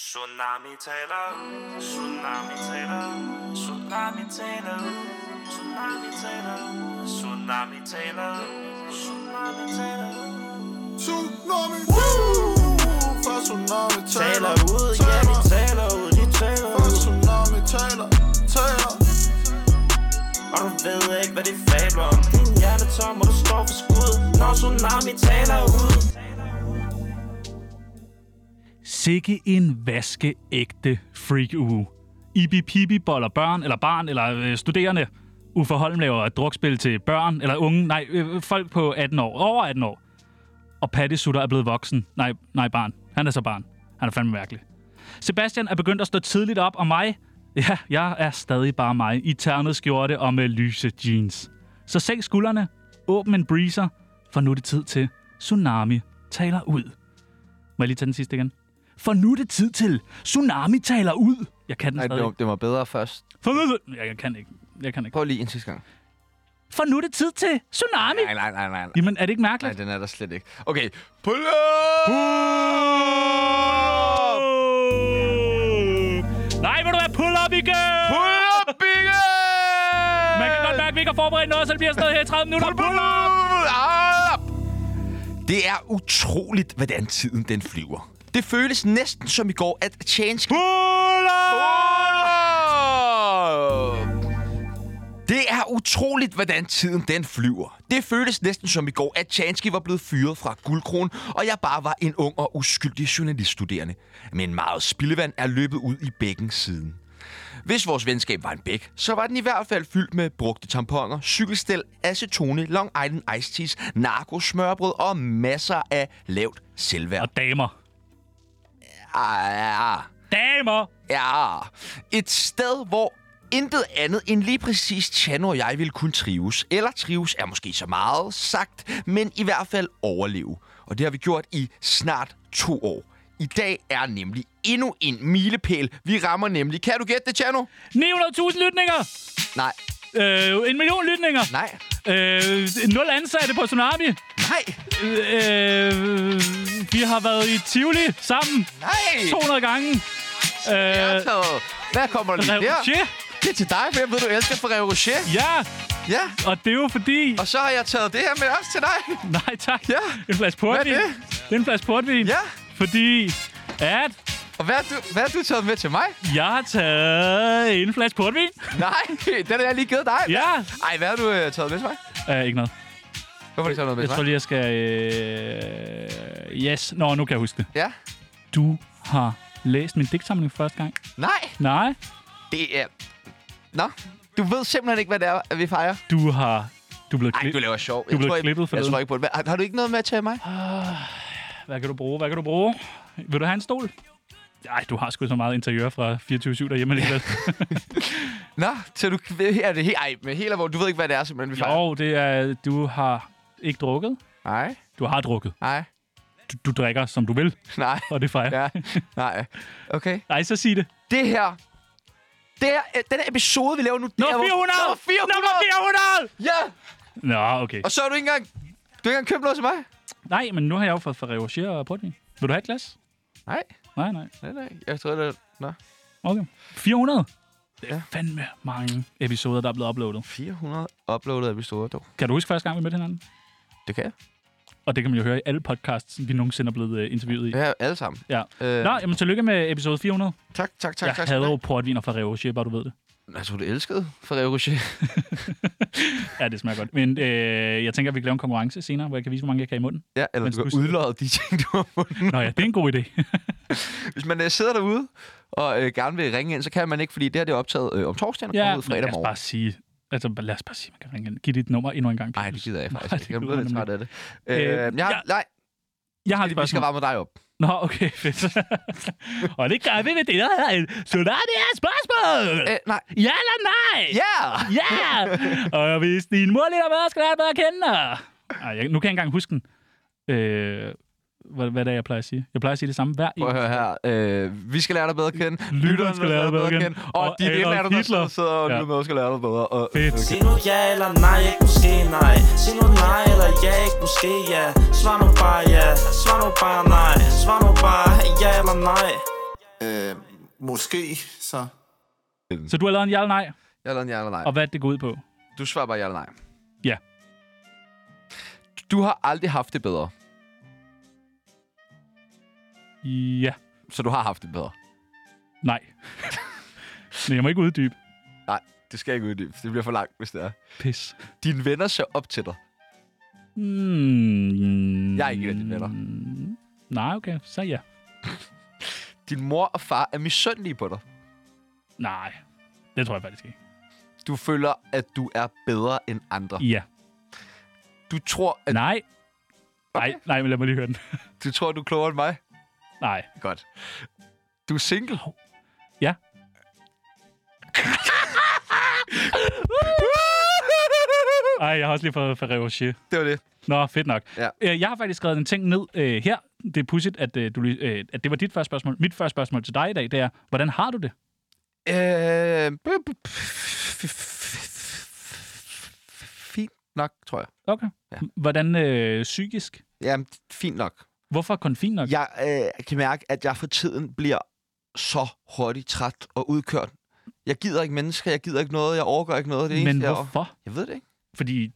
Tsunami taler, tsunami taler, tsunami taler, tsunami taler, tsunami taler, tsunami taler. Tsunami Woo! For tsunami Taler ud, ja de taler ud, de taler For ud. tsunami taler, taler Og du ved ikke, hvad de fabler om. Din hjerne er tom, og du står for skud, når tsunami taler ud. Sikke en vaskeægte freak uge. Ibi Pibi boller børn, eller barn, eller øh, studerende. Uffe Holm laver et drukspil til børn, eller unge, nej, øh, folk på 18 år, over 18 år. Og Patty Sutter er blevet voksen. Nej, nej, barn. Han er så barn. Han er fandme mærkelig. Sebastian er begyndt at stå tidligt op, og mig, ja, jeg er stadig bare mig, i ternet skjorte og med lyse jeans. Så sænk skuldrene, åbn en breezer, for nu er det tid til Tsunami taler ud. Må jeg lige tage den sidste igen? For nu er det tid til Tsunami taler ud. Jeg kan den Nej, stadig. det var, det var bedre først. For nu... Jeg, jeg kan ikke. Jeg kan ikke. Prøv lige en sidste gang. For nu er det tid til Tsunami. Nej, nej, nej, nej. nej. Jamen, er det ikke Nej, mærkeligt? den er der slet ikke. Okay. Pull up! Nej, vil du være pull up igen? Pull up, Bigge! Man kan godt mærke, at vi ikke har forberedt noget, så det bliver stadig her i 30 minutter. Pull up! Pull up! Ah! Det er utroligt, hvordan tiden den flyver. Det føles næsten som i går, at Change... Pull up! Det er utroligt, hvordan tiden den flyver. Det føles næsten som i går, at Chansky var blevet fyret fra guldkronen, og jeg bare var en ung og uskyldig journaliststuderende. Men meget spildevand er løbet ud i bækken siden. Hvis vores venskab var en bæk, så var den i hvert fald fyldt med brugte tamponer, cykelstel, acetone, Long Island Ice Teas, narko, smørbrød og masser af lavt selvværd. Og damer. Ah, Damer! Ja, et sted, hvor intet andet end lige præcis Chano og jeg ville kunne trives. Eller trives er måske så meget sagt, men i hvert fald overleve. Og det har vi gjort i snart to år. I dag er nemlig endnu en milepæl. Vi rammer nemlig... Kan du gætte det, Chano? 900.000 lytninger! Nej, Øh, en million lytninger! nej, Øh, nul ansatte på Tsunami! nej, Øh, øh, vi har været i Tivoli sammen nej! 200 gange. Øh, Ærtaget. Hvad kommer der lige der? Ravsje. Det er til dig, for jeg ved, du elsker Ferrero Rocher. Ja, Ja, og det er jo fordi... og så har jeg taget det her med også til dig. Nej, tak. Ja. En flaske er portvin. det? Det er en flaske portvin. Ja. Fordi at Og hvad har du, hvad har du taget med til mig? jeg har taget en flaske portvin. Nej, den har jeg lige givet dig. Ja. Ej, hvad har du øh, taget med til mig? Uh, ikke noget. Hvorfor har du taget noget med Jeg til tror mig? lige, jeg skal... Øh... Yes. Nå, nu kan jeg huske det. Ja. Du har læst min digtsamling første gang. Nej, Nej. det er... Nå, du ved simpelthen ikke, hvad det er, at vi fejrer. Du har... Du er blevet Nej, du klip. laver sjov. blev jeg, klippet jeg forleden. tror ikke på det. Har, har du ikke noget med til mig? Hvad kan du bruge? Hvad kan du bruge? Vil du have en stol? Nej, du har sgu så meget interiør fra 24-7 derhjemme alligevel. Nå, så du er det helt... Ej, men helt alvorligt. Du ved ikke, hvad det er, simpelthen, vi fejrer. jo, det er... Du har ikke drukket. Nej, Du har drukket. nej, Du, du drikker, som du vil, nej, og det fejrer. ja, nej. Okay. Nej, så sig det. det her... Det her, øh, den her episode, vi laver nu... det er Nummer vores- 400! Nummer 400! Nummer 400! Ja! Nå, okay. Og så har du ikke engang... Du har ikke engang købt noget til mig? Nej, men nu har jeg jo fået Ferrero Rocher og portvin. Vil du have et glas? Nej. Nej, nej. Nej, nej. Jeg tror, det er... Nå. Okay. 400? Det er Ja. fandme mange episoder, der er blevet uploadet. 400 uploadede episoder, dog. Kan du huske første gang, vi mødte hinanden? Det kan jeg. Og det kan man jo høre i alle podcasts, vi nogensinde er blevet øh, interviewet i. Det er alle sammen. Ja. Øh, Nå, jamen tillykke med episode 400. tak, tak, tak, Jeg tak. hader jo portvin og Ferrero Rocher, bare du ved det. Jeg tror, du elskede Ferrero Rocher. Ja, det smager godt. Men øh, jeg tænker, at vi kan lave en konkurrence senere, hvor jeg kan vise, hvor mange jeg kan i munden. Ja, eller Men du kan skulle- udløje de ting, du har fundet. Nå ja, det er en god idé. Hvis man øh, sidder derude og øh, gerne vil ringe ind, så kan man ikke, fordi det her det er optaget øh, om torsdagen og ja, kommer men lad ud fredag os morgen. bare sige, altså, lad os bare sige, man kan ringe ind. Giv dit nummer endnu en gang. Nej, det gider jeg faktisk Nej, ikke. Jeg det bliver lidt gider træt man af det. nemlig. Øh, Øh, jeg, ja, ja, nej, Jeg har et vi skal spørgsmål. varme dig op. Nå, okay, fedt. og det gør vi ved det, der hedder en Tsunami er et spørgsmål! Øh, nej. Ja eller nej? Ja! Ja! og hvis din mor lidt med, skal du lære bedre at kende dig. Ej, jeg, nu kan jeg ikke engang huske den. Øh, hvad, hvad er det, jeg plejer at sige? Jeg plejer at sige det samme hver Prøv at eneste- høre her. Øh, vi skal lære dig bedre at kende. Lytteren skal lære dig bedre at kende. Og, Og de Adolf venner, der Hitler. sidder- sidder og Ja. lytter med, skal lære dig bedre. Og, Fedt. Sig nu ja eller nej, ikke måske nej Sig nu nej eller ja, ikke måske ja Svar nu bare ja, svar nu bare nej Svar nu bare ja eller nej Øh, måske, så... Så du har lavet en ja eller nej, Jeg lader en ja eller nej. og hvad det går ud på? Du svarer bare ja eller nej. Ja. Du har aldrig haft det bedre, Ja. så du har haft det bedre. Nej. Men jeg må ikke uddybe. Nej, det skal jeg ikke uddybe. Det bliver for langt, hvis det er. Pis. Dine venner ser op til dig. Mm, Jeg er ikke en af dine venner. Nej, okay. Så ja. Din mor og far er misundelige på dig. Nej. Det tror jeg faktisk ikke. Du føler, at du er bedre end andre. Ja. Du tror, at Nej. Nej, nej, men lad mig lige høre den. du, tror, du er klogere end mig. Nej. Godt. Du er single. Ja. Ej, jeg har også lige fået Ferrero Rocher. Det var det. Nå, fedt nok. Ja. Øh, Jeg har faktisk skrevet en ting ned øh, her. Det er pudsigt, at, øh, du, lige- øh, at det var dit første spørgsmål. Mit første spørgsmål til dig i dag, det er, hvordan har du det? Øh, bu- bu- fint nok, tror jeg. Okay. Ja. Hvordan øh, psykisk? Jamen, fint nok. Hvorfor kun fint nok? Jeg øh, kan mærke, at jeg for tiden bliver så hurtigt træt og udkørt. Jeg gider ikke mennesker, jeg gider ikke noget, jeg overgår ikke noget. Det Men eneste, Jeg, hvorfor? jeg ved det ikke. Fordi,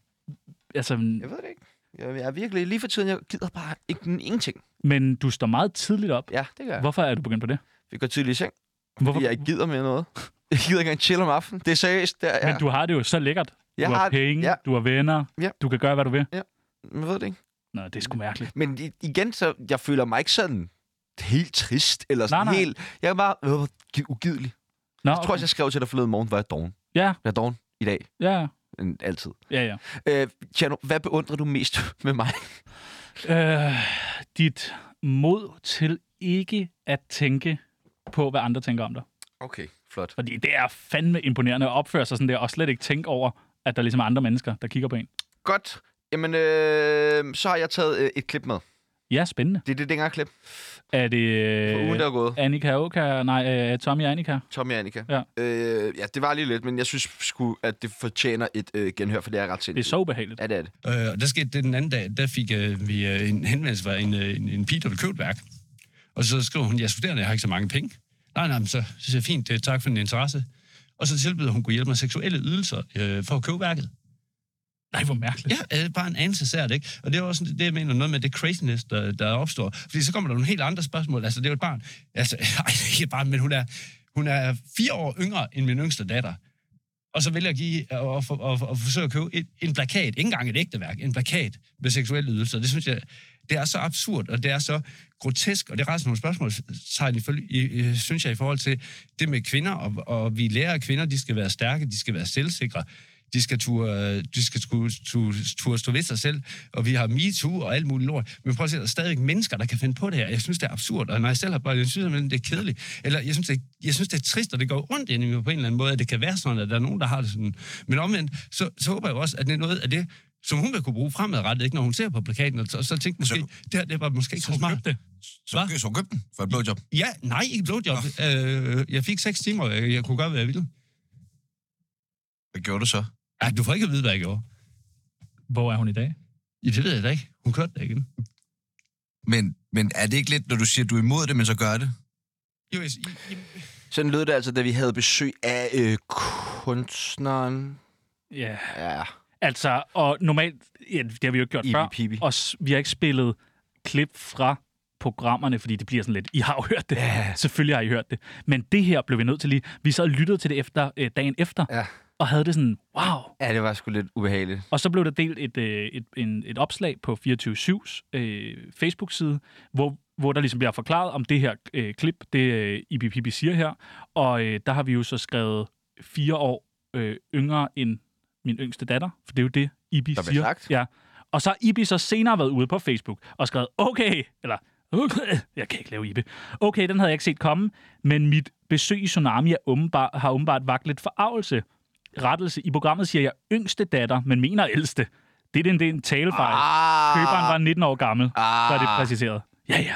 altså, Jeg ved det ikke. Jeg, jeg er virkelig lige for tiden, jeg gider bare ikke ingenting. men du står meget tidligt op. Ja, det gør jeg. Hvorfor er du begyndt på det? Vi går tidligt i seng, Hvorfor? fordi jeg ikke gider mere noget. Jeg gider ikke engang chill om aftenen. Det er seriøst. Det er, Men du har det jo så lækkert. jeg du har, penge, Ja, du har venner, Ja. du kan gøre, hvad du vil. jeg ved det ikke. Nå, det er sgu mærkeligt. Men i- igen, så jeg føler mig ikke sådan helt trist, eller sådan Nej, nej. helt... Jeg er bare øh, gi- ugidelig. Nå, Jeg tror også, jeg skrev til dig forleden morgen, var jeg doven. Ja. Jeg er doven i dag, ja, end altid. ja, ja. Øh, Tjerno, hvad beundrer du mest med mig? Øh, dit mod til ikke at tænke på, hvad andre tænker om dig. Okay, flot. Fordi det er fandme imponerende at opføre sig sådan der, og slet ikke tænke over, at der ligesom er andre mennesker, der kigger på en. Godt. Jamen, øh, så har jeg taget øh, et klip med. Ja, spændende. Det er det dengang-klip Er det på ugen, der øh, er gået. Annika Oka? Nej, øh, Tommy og Annika. Tommy og Annika. Ja. Øh, ja, det var lige lidt, men jeg synes sgu, at det fortjener et øh, genhør, for det er ret Det er sindssygt. så ubehageligt. Ja, det er det. Øh, og der skete det den anden dag, der fik øh, vi øh, en henvendelse fra en, øh, en, en pige, der ville købe et værk. Og så skrev hun, jeg er studerende, jeg har ikke så mange penge. Nej, nej, men så synes jeg, fint, øh, tak for din interesse. Og så tilbyder hun, kunne hjælpe mig seksuelle ydelser øh, for at købe værket. Nej, hvor mærkeligt. Ja, øh, bare en anelse sært, ikke? Og det er jo også det, jeg mener, noget med det craziness, der, der opstår. Fordi så kommer der nogle helt andre spørgsmål. Altså, det er jo et barn. Altså, ej, det er ikke et barn, men hun er, hun er fire år yngre end min yngste datter. Og så vælger jeg at give øh, og, og, og, og forsøge at købe et, en plakat, ikke engang et ægteværk, en plakat med seksuelle ydelser. Det synes jeg, det er så absurd, og det er så grotesk, og det rejser nogle spørgsmål, tegn ifølge- i- i- synes jeg, i forhold til det med kvinder, og, og vi lærer, at kvinder, de skal være stærke, de skal være selvsikre, de skal turde, de skal turde, turde, turde stå ved sig selv, og vi har MeToo og alt muligt lort. Men prøv at se, der er stadigvæk mennesker, der kan finde på det her. Jeg synes, det er absurd, og når jeg selv har bare synes, at det er kedeligt. Eller jeg synes, det, jeg synes, det er trist, og det går ondt ind i mig på en eller anden måde, at det kan være sådan, at der er nogen, der har det sådan. Men omvendt, så, så håber jeg også, at det er noget af det, som hun vil kunne bruge fremadrettet, ikke, når hun ser på plakaten, og så, og så tænke måske, det her det var måske ikke så, smart. købte det. Hva? Så køb den for et blowjob. Ja, nej, ikke blowjob. Øh, jeg fik seks timer, og jeg, jeg kunne gøre, hvad jeg ville. Hvad gjorde du så? Ja, du får ikke at vide, hvad jeg gjorde. Hvor er hun i dag? Ja, det ved jeg da ikke. Hun kørte da igen. Men, men er det ikke lidt, når du siger, at du er imod det, men så gør det? Jo, jeg, jeg, Sådan lød det altså, da vi havde besøg af øh, kunstneren. Ja. Ja, Altså, og normalt, ja, det har vi jo ikke gjort Ibi før, Pibi. og s- vi har ikke spillet klip fra programmerne, fordi det bliver sådan lidt, I har jo hørt det. Ja. Selvfølgelig har I hørt det. Men det her blev vi nødt til lige. Vi sad og lyttede til det efter, øh, dagen efter, Ja. og havde det sådan, wow. ja det var sgu lidt ubehageligt. Og så blev der delt et, øh, et, en, et opslag på 24-7's øh, Facebook-side, hvor, hvor der ligesom bliver forklaret om det her øh, klip, det øh, IBPB siger her. Og øh, der har vi jo så skrevet fire år øh, yngre end min yngste datter, for det er jo det, Ibi Der bliver siger. sagt. Ja. Og så har Ibi så senere været ude på Facebook og skrevet, okay, eller okay, jeg kan ikke lave Ibi. Okay, den havde jeg ikke set komme, men mit besøg i Tsunami er åbenbart, har åbenbart vagt lidt forarvelse. Rettelse. I programmet siger jeg yngste datter, men mener ældste. Det er en, det er en talefejl. Ah. Ah, Køberen var 19 år gammel, ah. så er det Ah. præciseret. Ja, ja.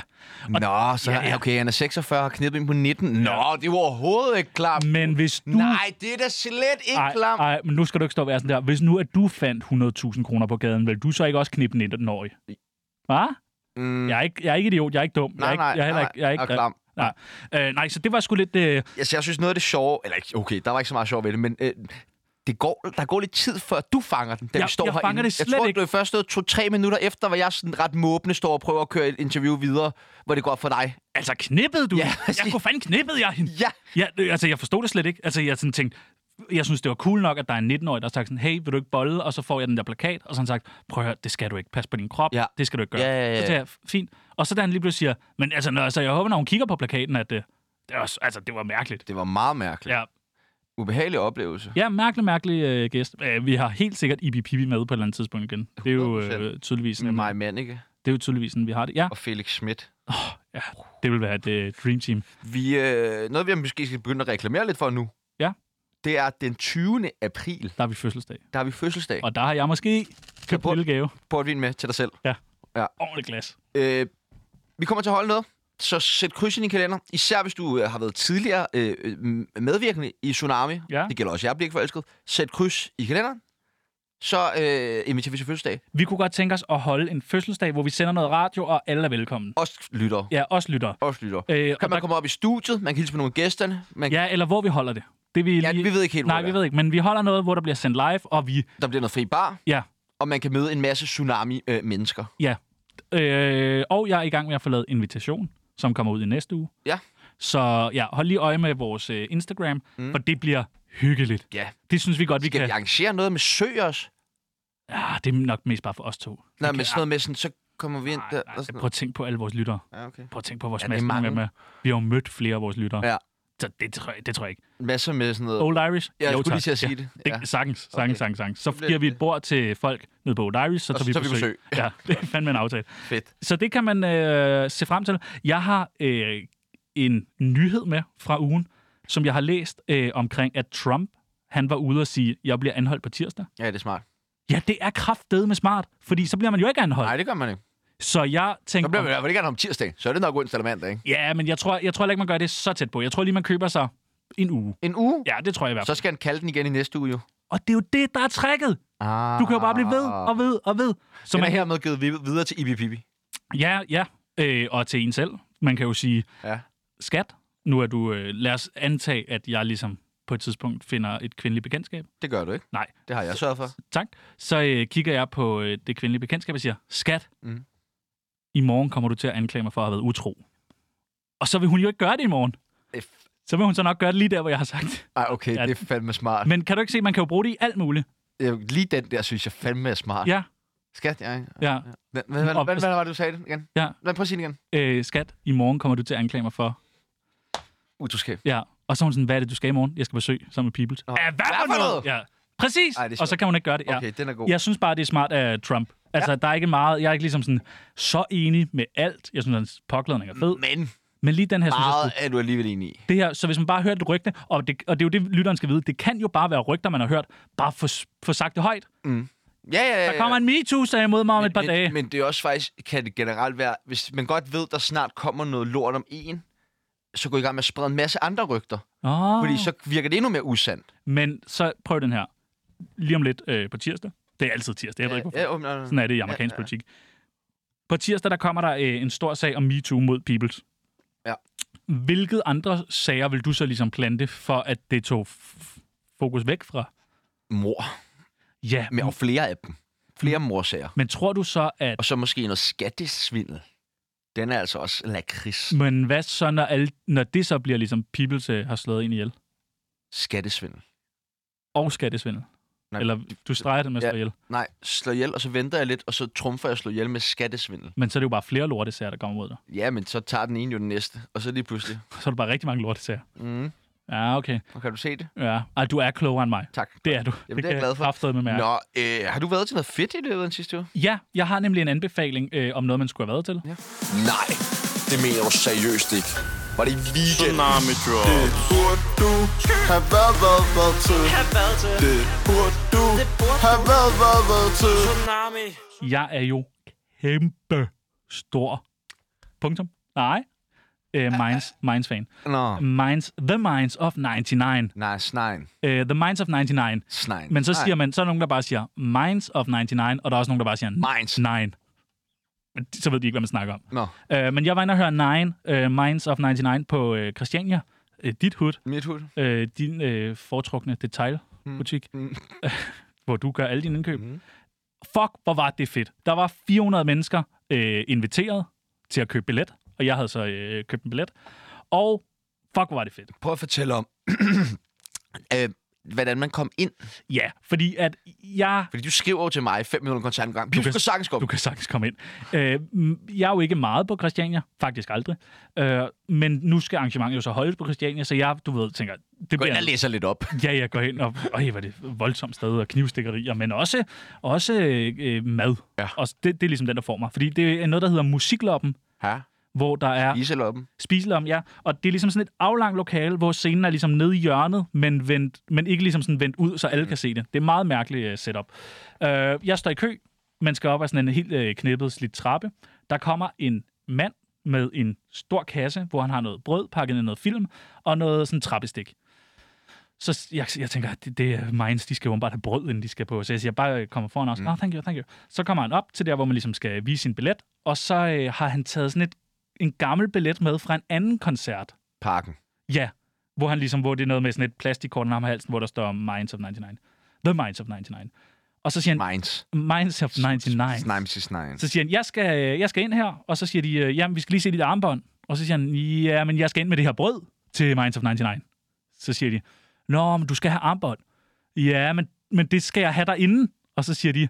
Nå, så Ja, ja, ja. ja. okay, han er 46 og har knippet ind på 19. Nå, det var overhovedet ikke klar. Men hvis du... Nej, det er da slet ikke Ej, klam. ej, men nu skal du ikke stå og være sådan der. Hvis nu, at du fandt 100.000 kroner på gaden, vil du så ikke også knippe den 19-årige? Hva? Mm, Jeg er, ikke, jeg er ikke idiot, jeg er ikke dum. jeg er nej, ikke, nej, jeg er heller nej, ikke, jeg er ikke og grim. klam. Nej, øh, nej så det var sgu lidt... Øh, Altså, jeg synes noget af det sjove, eller ikke- okay, der var ikke så meget sjov ved det, men øh, det går, der går lidt tid, før du fanger den, da Jeg- vi står jeg herinde. fanger det jeg slet tror, ikke. det først noget to-tre minutter efter, hvor jeg sådan ret måbende står og prøver at køre et interview videre, hvor det går for dig. altså, knippede du? Ja, Ja, præcis. jeg kunne fanden knippede jeg hende. Ja. Ja, øh, altså, jeg forstod det slet ikke. Altså, jeg sådan tænkte, jeg synes, det var cool nok, at der er en 19-årig, der har sagt sådan, hey, vil du ikke bolle? Og så får jeg den der plakat, og så har han sagt, prøv at høre, det skal du ikke. Pas på din krop, Ja. ja. det skal du ikke gøre. Ja, ja, ja, Så tænker jeg, fint. Og så da han lige pludselig siger, men altså, når, altså jeg håber, når hun kigger på plakaten, at det, det, var, altså, det var mærkeligt. Det var meget mærkeligt. Ja, Ubehagelig oplevelse. ja mærkelig, mærkelig øh, gæst. Øh, vi har helt sikkert Ibi Pibi med på et eller andet tidspunkt igen. Det er jo 100%. øh, tydeligvis Med en, mig Manneke det er jo tydeligvis en, vi har det. Ja, og Felix Schmidt. ja det vil være et øh, dream team. Vi, øh, noget, vi måske skal begynde at reklamere lidt for nu, Ja. det er at den 20. april, Der er vi fødselsdag. der har vi fødselsdag. Og der har jeg måske købt på- en lille gave. Portvin med til dig selv. Ordentligt glas. Øh, vi kommer til at holde noget, så sæt kryds i din kalender. Især hvis du øh, har været tidligere øh, øh, medvirkende i Tsunami. Ja. Det gælder også, jeg bliver ikke forelsket. Sæt kryds i kalenderen. Så øh, inviterer vi til fødselsdag. Vi kunne godt tænke os at holde en fødselsdag, hvor vi sender noget radio, og alle er velkommen. Også lytter. Ja, også lytter. Også lytter. Øh, og Kan der- man komme op i studiet? Man kan hilse på nogle af gæsterne. Man... Ja, eller hvor vi holder det. Det vi Ja, vi ved ikke helt, hvor Nej, det vi er. ved ikke, men vi holder noget, hvor der bliver sendt live, og vi... Der bliver noget fri bar, Ja, og man kan møde en masse Tsunami-mennesker. ja. Øh, og jeg er i gang med at få lavet invitation, som kommer ud i næste uge. Ja. Så ja, hold lige øje med vores øh, Instagram, mm. for det bliver hyggeligt. ja. Det synes vi godt, vi Skal kan. vi arrangere noget med sø også? Ja, det er nok mest bare for os to. Nej, Vi men kan- sådan noget med sådan, så kommer vi ind Ej, der. nej, og sådan Prøv at tænke på alle vores lyttere. noget. Ja, okay. Prøv at tænke på vores Ja, ja, det er masse mange. med. Vi har jo mødt flere af vores lyttere. Ja. Så det tror jeg, det tror jeg ikke. Masser med sådan noget. Old Irish? Ja, jeg Jo, skulle tak. lige til at sige det. det Ja. ja. Sagtens, sagtens, Okay. okay. sagens, sagens. Så bliver giver vi det- et bord til folk nede på Old Irish, så Og tager så vi tager vi besøg. besøg. Ja, det er fandme en aftale. Fedt. Så det kan man øh, se frem til. Jeg har øh, en nyhed med fra ugen, som jeg har læst øh, omkring, at Trump han var ude og sige, jeg bliver anholdt på tirsdag. Ja, det er smart. Ja, det er kraftedeme smart, fordi så bliver man jo ikke anholdt. Nej, det gør man ikke. Så jeg Så tænkte... bliver vi i hvert fald ikke om tirsdag. Så er det nok onsdag eller mandag, ikke? Ja, men jeg tror, jeg tror heller ikke, man gør det så tæt på. Jeg tror lige, man køber sig en uge. En uge? Ja, det tror jeg i hvert Så fald. skal han kalde den igen i næste uge, jo. Og det er jo det, der er trækket. Ah. Du kan jo bare blive ved og ved og ved. Så Den er man, hermed givet vid- videre til Ibi Pibi. ja, ja. Øh, og til en selv. Man kan jo sige, Ja. skat, nu er du... Øh, lad os antage, at jeg ligesom på et tidspunkt finder et kvindeligt bekendtskab. Det gør du ikke. Nej, Det har jeg sørget for. tak. Så øh, kigger jeg på øh, det kvindelige bekendtskab og siger, skat, Mm. mm. i morgen kommer du til at anklage mig for at have været utro. Og så vil hun jo ikke gøre det i morgen. Det er f- Så vil hun så nok gøre det lige der, hvor jeg har sagt. Ej, okay, Ja. det er fandme smart. Men kan du ikke se, man kan jo bruge det i alt muligt. Øh, Lige den der, synes jeg fandme er smart. Ja, Skat, ja. ikke? ja. Hvad, hvad, hvad, Og- hvad, hvad var det, du sagde det igen? Ja. Hvad, prøv at sige det igen. Øh, skat, i morgen kommer du til at anklage mig for Utroskab. Ja, og så er hun sådan, hvad er det, du skal i morgen? Jeg skal besøge sammen med Peoples. Nå. Ja, hvad, for noget? Ja, præcis. Ej, det er og så sjovt. kan hun ikke gøre det. Ja. Okay, den er god. Jeg synes bare, det er smart af Trump. Altså, der er ikke meget... Jeg er ikke ligesom sådan så enig med alt. Jeg synes, hans påklædning er fed. Men Men lige den her, synes jeg, meget skulle- er du alligevel enig i. det her, så hvis man bare hører et rygte, og det, og det er jo det, lytteren skal vide, det kan jo bare være rygter, man har hørt, bare få, få sagt det højt. Ja, ja, ja. Der kommer en MeToo-sag imod mig om et par men, dage. Men det er også faktisk, kan det generelt være, hvis man godt ved, der snart kommer noget lort om en, så gå i gang med at sprede en masse andre rygter. Åh. Fordi så virker det endnu mere usandt. Men så prøv den her. Lige om lidt øh, på tirsdag. Det er altid tirsdag, jeg ved ikke, hvorfor. Ja, åh, nej, nej. Sådan er det i amerikansk Ja, ja. politik. På tirsdag, der kommer der øh, en stor sag om MeToo mod Peoples. Ja. Hvilket andre sager vil du så ligesom plante, for at det tog f- f- fokus væk fra? Mor. Ja, Men men, og flere af dem. Flere morsager. men tror du så, at... Og så måske noget skattesvindel. Den er altså også lakrids. Men hvad så, når, alle, når det så bliver ligesom Peoples øh, har slået ind ihjel? Skattesvindel. Og skattesvindel? Nej, Nej, Eller du streger det med at ja. slå ihjel. Nej, slå ihjel, og så venter jeg lidt, og så trumfer jeg at slå ihjel med skattesvindel. Men så er det jo bare flere lortesager, der kommer mod dig. Ja, men så tager den ene jo den næste, og så lige pludselig. Så er der bare rigtig mange lortesager. Mm. Ja, okay. Og kan du se det? Ja. Ej, du er klogere end mig. Tak. Det er du. Jamen, det er jeg glad for. for. Med mærke. Nå, øh, har du været til noget fedt i løbet af den sidste uge? Ja, jeg har nemlig en anbefaling øh, om noget, man skulle have været til. Nej, det mener du seriøst ikke. Var det i weekenden? Tsunami drop Det burde du have været, været, været til. Have været til Det burde du Det burde have været, været, været til. Tsunami Jeg er jo kæmpe stor. Punktum. Nej. Øh, Minds, Minds fan. Nå, Minds, The Minds of 99. nej, snegn. Øh, the Minds of 99. Snegn. Men så Nej. siger man, så er der nogen, der bare siger Minds of 99, og der er også nogen, der bare siger Minds. Nine. men de- så ved de ikke, hvad man snakker om. Nå, Øh, men jeg var inde og høre Nine, øh, Minds of 99 på øh, Christiania. Øh, dit hood. mit hud. øh, din øh, foretrukne detailbutik, mm. Mm. hvor du gør alle dine indkøb. Mm-hmm. Mm. Fuck, hvor var det fedt. Der var 400 mennesker øh, inviteret til at købe billet, og jeg havde så øh, købt en billet. Og fuck, hvor var det fedt. Prøv at fortælle om, øh, hvordan man kom ind. Ja, fordi at jeg... Fordi du skriver jo til mig 5 minutter koncert en gang. Du, kan- kan sagtens komme. Du kan sagtens komme ind. Øh, m- jeg er jo ikke meget på Christiania, faktisk aldrig. Øh, men nu skal arrangementet jo så holdes på Christiania, så jeg, du ved, tænker... Det Gå ind bliver og læser lidt op. Ja, jeg går ind, og øj, var det et voldsomt sted, og knivstikkerier, men også, også øh, mad. Ja. Og det, det er ligesom den, der får mig. Fordi det er noget, der hedder musikloppen, Ja, hvor der er Iseloppen. spiseloppen, ja. Og det er ligesom sådan et aflangt lokale, hvor scenen er ligesom nede i hjørnet, men, vendt, men ikke ligesom sådan vendt ud, så alle kan se det. Det er meget mærkeligt uh, setup. Uh, jeg står i kø. Man skal op ad sådan en helt uh, knippet slidt trappe. Der kommer en mand med en stor kasse, hvor han har noget brød pakket i noget film, og noget sådan trappestik. Så s- jeg, jeg tænker, at det, det er Minds, de skal jo åbenbart have brød, inden de skal på. Så jeg siger, bare øh, kommer foran os. Mm. Oh, thank you, thank you. Så kommer han op til der, hvor man ligesom skal vise sin billet. Og så øh, har han taget sådan et, en gammel billet med fra en anden koncert. Parken. Ja, hvor han ligesom, hvor det er noget med sådan et plastikkort om halsen, hvor der står Minds of 99. The Minds of 99. Og så siger han, Minds. Minds of 99. Snimes is nine. Så siger han, jeg skal, øh, jeg skal ind her. Og så siger de, øh, jamen, vi skal lige se dit armbånd. Og så siger han, ja, men jeg skal ind med det her brød til Minds of 99. Så siger de, nå, men du skal have armbånd. Ja, men, men det skal jeg have derinde. Og så siger de,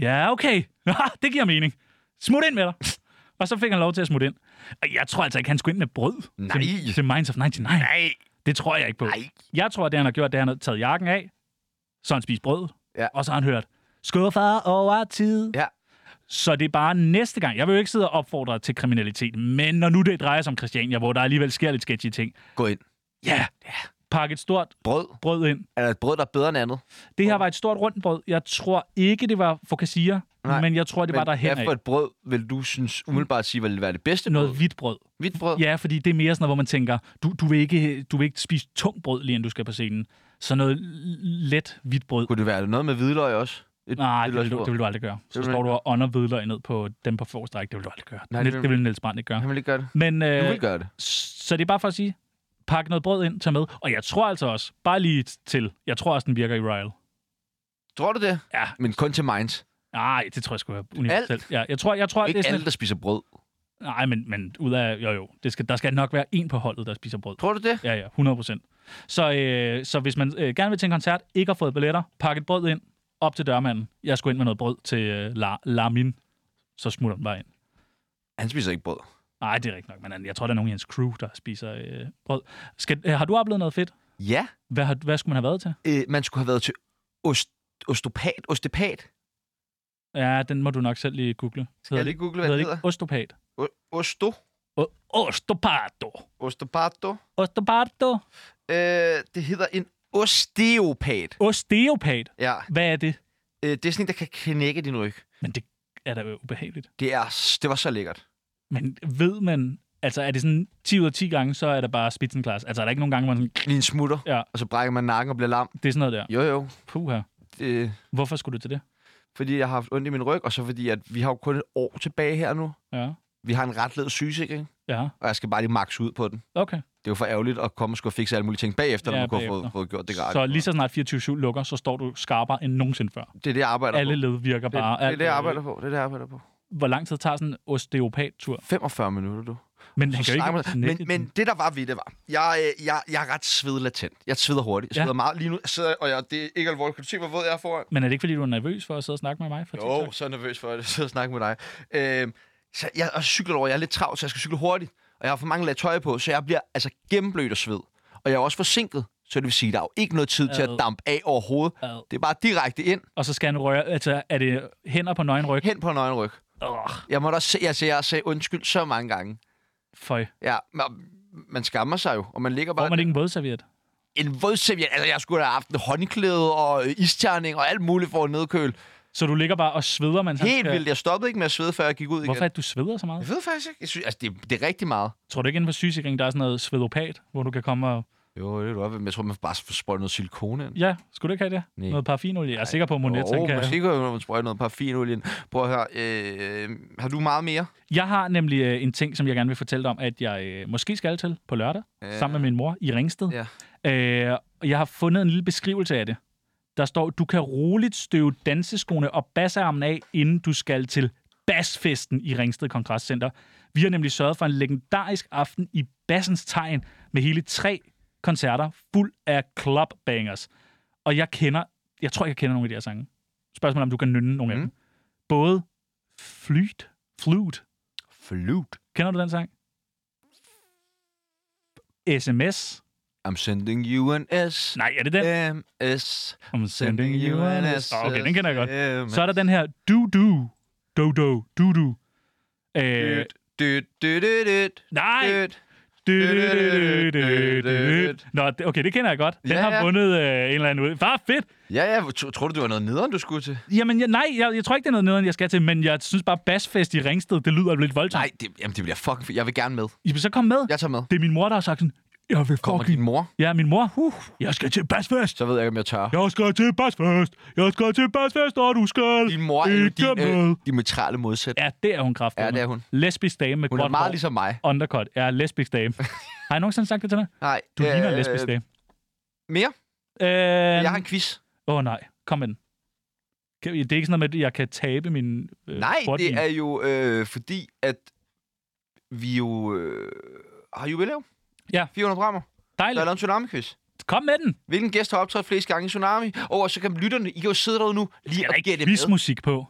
ja, okay. "Ah, det giver mening. Smut ind med dig. Og så fik han lov til at smutte ind. Og jeg tror altså ikke, han skulle ind med brød Nej. til, til Minds of 99. Nej. Det tror jeg ikke på. Nej. Jeg tror, at det, han har gjort, det er, at han har taget jakken af, så har han spist brød, Ja. og så har han hørt, skuffer over tid. Ja. Så det er bare næste gang. Jeg vil jo ikke sidde og opfordre til kriminalitet, men når nu det drejer sig om Christiania, hvor der alligevel sker lidt sketchy ting, Gå ind. ja, pak et stort Brød. brød ind. Er der et brød, der er bedre end andet? Det her var et stort rundt brød. Jeg tror ikke, det var focaccia, Nej, men jeg tror, det var der hvad for af. et brød vil du synes umiddelbart sige, vil være det bedste brød? Noget hvidt brød. Hvidt brød? Ja, fordi det er mere sådan noget, hvor man tænker, du, du, vil ikke, du vil ikke spise tungt brød, lige inden du skal på scenen. Så noget let hvidt brød. Kunne det være noget med hvidløg også? Et Nej, det, vil du, hvidløgsbrød? det vil du aldrig gøre. Så vil du står ikke du og ånder vedløg ned på dem på forreste række. Det vil du aldrig gøre. Nej, Nej, det det, det vil- vil Niels Brandt ikke gøre. Han vil ikke gøre det. Men, Du øh, vil gøre det. så det er bare for at sige, pak noget brød ind, tag med. Og jeg tror altså også, bare lige til, jeg tror også, den virker i Royal. Tror du det? Ja. Men kun til minds. Nej, det tror jeg sgu er universelt. Alt? Ja, jeg tror, jeg tror det er Ikke sådan alle, der spiser brød. et- Nej, men, men ud af... Jo, jo. Det skal, der skal nok være en på holdet, der spiser brød. Tror du det? Ja, ja. 100 procent. Så, øh, så hvis man øh, gerne vil til en koncert, ikke har fået billetter, pak et brød ind, op til dørmanden. Jeg skulle ind med noget brød til øh, La, La Min. Så smutter den bare ind. Han spiser ikke brød. Nej, det er rigtigt nok, men jeg tror, der er nogen i hans crew, der spiser øh, brød. Skal, øh, har du oplevet noget fedt? Ja. Hvad, har, hvad skulle man have været til? Øh, man skulle have været til ost, ostopat. Ostepat. Ja, den må du nok selv lige google. Skal Jeg lige google, hvad det hedder. Ostopat. O- Osto. O- Ostopato. Ostopato. Ostopato. Øh, det hedder en osteopat. Osteopat. Ja. Hvad er det? Øh, det er sådan en, der kan knække din ryg. Men det er da jo ubehageligt. Det, er, s- det var så lækkert. Men ved man... Altså, er det sådan 10 ud af 10 gange, så er der bare spitsenklass. Altså, er der ikke nogen gange, hvor man sådan, Lige en smutter. Ja. Og så brækker man nakken og bliver lam. det er sådan noget der. Jo, jo. Puh her. Det, Hvorfor skulle du til det? fordi jeg har haft ondt i min ryg, og så fordi, at vi har jo kun et år tilbage her nu. Ja. Vi har en ret led sygesikring, Ja, og jeg skal bare lige max ud på den. okay. Det er jo for ærgerligt at komme og skulle fikse alle mulige ting bagefter, ja, Ja, når man kunne have fået, bagefter. fået gjort det gratis. Så ligesom lige så snart 24-7 lukker, så står du skarpere end nogensinde før. Det er det, jeg arbejder Alle på. led virker Det, bare. det er alt- det, jeg arbejder på. Det er det, jeg arbejder på. Hvor lang tid tager sådan en osteopat-tur? 45 minutter, du. Men han Så kan jo snakker ikke man, men, men det, der var ved det, var, jeg, øh, jeg, jeg er ret svedlatent. Jeg sveder hurtigt. Jeg Ja. sveder ja. meget lige nu. Jeg sidder, og jeg, det er ikke alvorligt. Kan du se, hvor våd jeg er foran? men er det ikke, fordi du er nervøs for at sidde og snakke med mig? For Jo, TikTok? så er jeg nervøs for at sidde og snakke med dig. Øh, så jeg og så cykler jeg over. Jeg er lidt travlt, så jeg skal cykle hurtigt. Og jeg har for mange lag tøj på, så jeg bliver altså gennemblødt af sved. Og jeg er også forsinket, så det vil sige, at der er jo ikke noget tid til at Ad. dampe af overhovedet. Ad. Det er bare direkte ind, Og så skal han røre... Altså, er det hænder på nøgen ryg? hen på en øjenryg. Oh, Jeg måtte også se, altså, jeg sagde undskyld så mange gange. føj. Ja, man, man skammer sig jo, og man ligger Får bare... man ikke en vådserviet? en vådserviet. Altså, jeg skulle da have haft en håndklæde og øh, isterning og alt muligt for at nedkøle. Så du ligger bare og sveder, mens han Helt skal- vildt. Jeg stoppede ikke med at svede, før jeg gik ud Hvorfor igen. er det, du sveder så meget? Jeg ved faktisk ikke. Jeg synes, altså, det, det er rigtig meget. Tror du ikke, inden for sygesikring, der er sådan noget svedopat, hvor du kan komme og... Jo, det er du op. Men jeg tror, man bare får sprøjtet noget silikone ind. Ja, skulle du ikke have det? Nej. Noget parfinolie? Jeg er sikker på, at Monet Åh, oh, kan... måske kunne man sprøjte noget parfinolie ind. Prøv at høre, øh, har du meget mere? Jeg har nemlig øh, en ting, som jeg gerne vil fortælle dig om, at jeg øh, måske skal til på lørdag, Ja. ja. sammen med min mor i Ringsted. Ja. Øh, og jeg har fundet en lille beskrivelse af det. Der står, du kan roligt støve danseskoene og bassarmen af, inden du skal til Bassfesten i Ringsted Kongresscenter. Vi har nemlig sørget for en legendarisk aften i bassens tegn med hele tre koncerter fuld af clubbangers. Og jeg kender, jeg tror, jeg kender nogle af de her sange. Spørgsmålet er, om du kan nynne nogle af Mm. dem. Både Flyt, Flute, Øh, Flute. Kender du den sang? SMS? I'm sending you an S. Nej, er det den? MS. I'm sending you an S. Åh, Okay, den Øh, kender jeg godt. godt. Så er der den her du-du. Do-do. Du-du. Øh, nej! Du-du-du-du-du-du. Nå, det- okay, det kender jeg godt. Den Ja, ja. har vundet øh, en eller anden ud. Far, fedt! Ja, ja. tro- Tror du, det var noget nederen, du skulle til? Jamen, jeg, nej, jeg, jeg tror ikke, det er noget nederen, jeg skal til, men jeg synes bare, basfest i Ringsted, det lyder lidt voldsomt. Nej, det, jamen, det bliver fucking fedt. Jeg vil gerne med. I vil så komme med. Jeg tager med. Det er min mor, der har sagt sådan, jeg vil Kommer fucking... din mor, Ja, min mor. Uh, jeg skal til basfest. så ved jeg ikke, om jeg tør. Jeg skal til basfest. Jeg skal til basfest, og du skal Din mor er jo ikke din med. øh, diametrale modsætning. Ja, det er hun kraftig. Ja, det er hun. Lesbisk dame med Hun er gråt meget hår. ligesom mig. Undercut. Ja, lesbisk dame. Har jeg nogensinde sagt det til dig? Nej. Du øh, ligner en lesbisk dame. Mere? Øh, Jeg har en quiz. Åh oh, nej, kom med den. Kan- Det er ikke sådan noget med, at jeg kan tabe min øh, Nej, portvin. det er jo øh, fordi, at vi jo øh, har jubilæum. Ja. 400 programmer. Der Dejligt. er lavet en tsunami-quiz. Kom med den. Hvilken gæst har optrådt flest gange i Tsunami? Og så kan lytterne, I kan jo sidde derude nu, lige Er og der gætte ikke med. quizmusik på?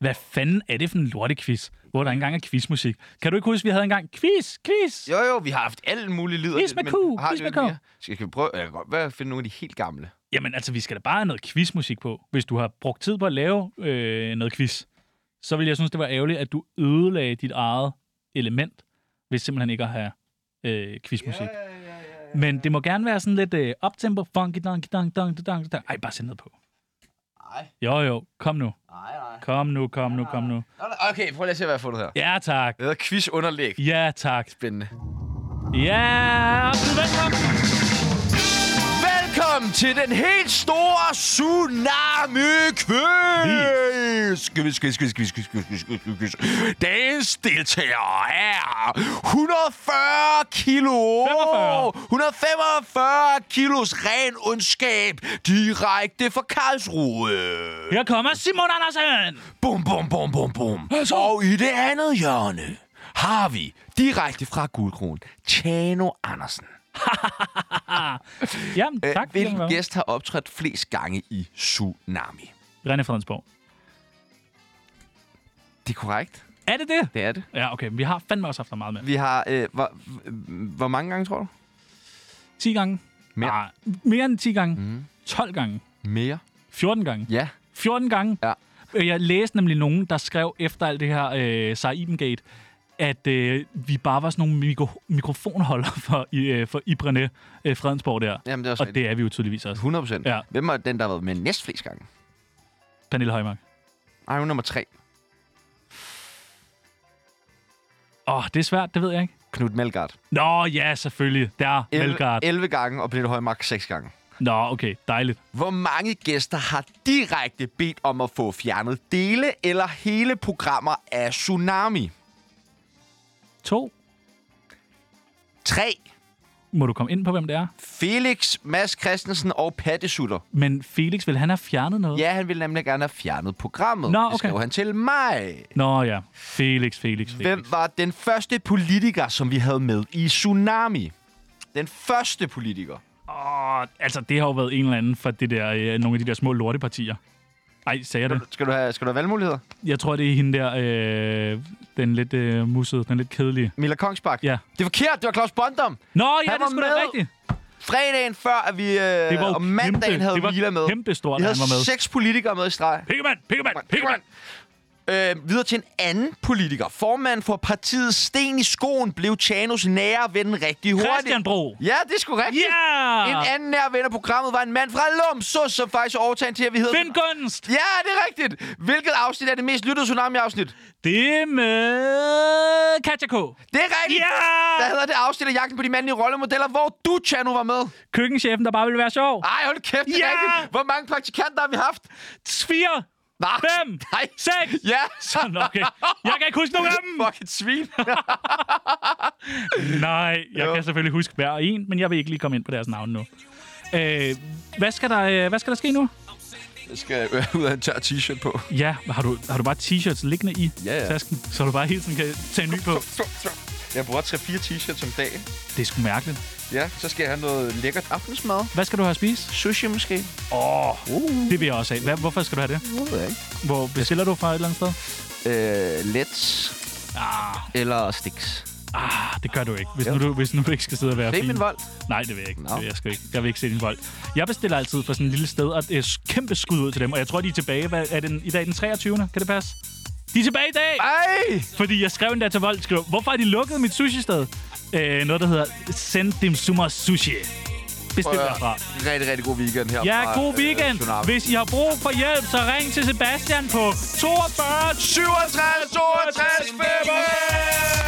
Hvad fanden er det for en lortequiz, hvor der ikke engang er quizmusik? Kan du ikke huske, at vi havde engang quiz, quiz? Jo, jo, vi har haft alle mulige lyder. Quiz med Q, quiz med K. Skal, skal vi prøve? Jeg kan godt være at finde nogle af de helt gamle. Jamen altså, vi skal da bare have noget quizmusik på. Hvis du har brugt tid på at lave øh, noget quiz, så vil jeg synes, det var ærgerligt, at du ødelagde dit eget element, hvis simpelthen ikke at have øh, quizmusik. Ja, ja, ja, ja, ja. Men det må gerne være sådan lidt øh, uptempo, funky, dunk, dunk, dunk, dunk, dunk. Ej, bare sæt noget på. Nej. Jo, jo, kom nu. Nej, nej. Kom nu, kom nu, kom nu. Nå, nå, Okay, prøv lige at se, hvad jeg har fundet her. Ja, tak. Det hedder quiz underlæg. Ja, tak. Spændende. Ja, byd velkommen. Velkommen til den helt store Tsunami-quiz! Quiz, quiz, quiz, quiz, quiz, quiz, quiz, quiz, quiz. Dagens deltager er 140 kilo! 45. 145 kilos ren ondskab direkte fra Karlsruhe. Her kommer Simon Andersen. Bum, bum, bum, bum, bum. Og i det andet hjørne har vi direkte fra Guldkronen, Tjano Andersen. Jamen, tak. fordi jeg måtte Øh, være Hvilken med. gæst har optrådt flest gange i Tsunami? René Fredensborg. Det er korrekt. Er det det? Det er det. Ja, okay. Men vi har fandme også haft dig meget med. Vi har... Øh, hvor, hvor mange gange, tror du? 10 gange. Mere. Nej, mere end 10 gange. Mm. 12 gange. Mere. 14 gange. Ja. 14 gange. Ja. Øh, Jeg læste nemlig nogen, der skrev efter alt det her øh, Sar Ibengate, at øh, vi bare var sådan nogle mikro- mikrofonholder for, i, øh, for Ibrene øh, Fredensborg der. Jamen, det er også Og rigtigt. det er vi jo tydeligvis også. 100 procent. Ja. Hvem er den, der har været med næst flest gange? Pernille Højmark. Nej, hun er nummer tre. Åh, oh, det er svært, det ved jeg ikke. Knud Melgaard. Nå, ja, selvfølgelig. Der, 11, Melgaard. 11 gange, og Pernille Højmark 6 gange. Nå, okay, dejligt. Hvor mange gæster har direkte bedt om at få fjernet dele eller hele programmer af Tsunami? To. 3. Må du komme ind på, hvem det er? Felix, Mads Christensen og Patte Sutter. Men Felix, vil han have fjernet noget? Ja, han ville nemlig gerne have fjernet programmet. Nå, Det okay. skrev han til mig. Nå ja, Felix, Felix, Felix. Hvem var den første politiker, som vi havde med i Tsunami? Den første politiker. Åh, altså det har jo været en eller anden fra det der, øh, nogle af de der små lortepartier. Ej, sagde jeg det? Skal du have, skal du have valgmuligheder? Jeg tror, det er hende der, øh, den lidt øh, mussede, den lidt kedelige. Mila Kongsbak? Ja. Det er forkert, det var Claus Bondum. Nå, ja, Han det var er sgu da med. rigtigt. Fredagen før, at vi øh, Det var jo om mandagen kæmpe- havde det var Mila med. kæmpestort, vi at havde han var med. seks politikere med i streg. Pikkemand, pikkemand, pikkemand. Øh, videre til en anden politiker. Formanden for partiet Sten i Skoen blev Chanos nære ven rigtig hurtigt. Christian Bro. Ja, det er sgu rigtigt. Ja! En anden nær ven af programmet var en mand fra Lumsus, som faktisk overtager til, at vi hedder... Find gunst! Ja, det er rigtigt. Hvilket afsnit er det mest lyttede Tsunami-afsnit? Det er med Katja K. Det er rigtigt. Ja! Hvad hedder det afsnit af Jagten på de mandlige rollemodeller, hvor du, Chano, var med? Køkkenchefen, der bare ville være sjov. Ej, hold kæft, det er Ja! rigtigt. Hvor mange praktikanter har vi haft? 4, Nej. 5, Ah, Nej. 6. Ja. Sådan, okay. Jeg kan ikke huske nogen af dem. Fucking svin. Nej, jeg Jo. jo. kan selvfølgelig huske hver en, men jeg vil ikke lige komme ind på deres navn nu. Øh, hvad, skal der, øh, hvad skal der ske nu? Jeg skal øh, ud af en tør t-shirt på. Ja, har du, har du bare t-shirts liggende i Ja, ja. tasken, så du bare hele tiden kan tage en ny på? Jeg bruger 3-4 t-shirts om dagen. Det er sgu mærkeligt. Ja, så skal jeg have noget lækkert aftensmad. Hvad skal du have at spise? Sushi måske? uh. Det vil jeg også have. Hvad, hvorfor skal du have det? Det ved jeg ikke. Hvor bestiller du fra et eller andet sted? Øh, Let's. Ah. Eller Stix. Ah, det gør du ikke, hvis nu du, hvis nu du ikke skal sidde og være Det er fin. min vold. Nej, det vil jeg ikke. No. Nå. Det vil jeg, sgu ikke. jeg vil ikke se din vold. Jeg bestiller altid fra sådan et lille sted, og et øh, kæmpe skud ud til dem. Og jeg tror, de er tilbage. Hvad, er den, i dag den 23. Kan det passe? De er tilbage i dag! Ej! Fordi jeg skrev endda til Vold, skrev, hvorfor har de lukket mit sushi-sted? Øh, noget, der hedder Sendim Summer Sushi. Bestil Prøv at- derfra. Rigtig, rigtig god weekend her. Ja, fra, god øh, weekend. Tsunami. Hvis I har brug for hjælp, så ring til Sebastian på 42 67, 62, 65!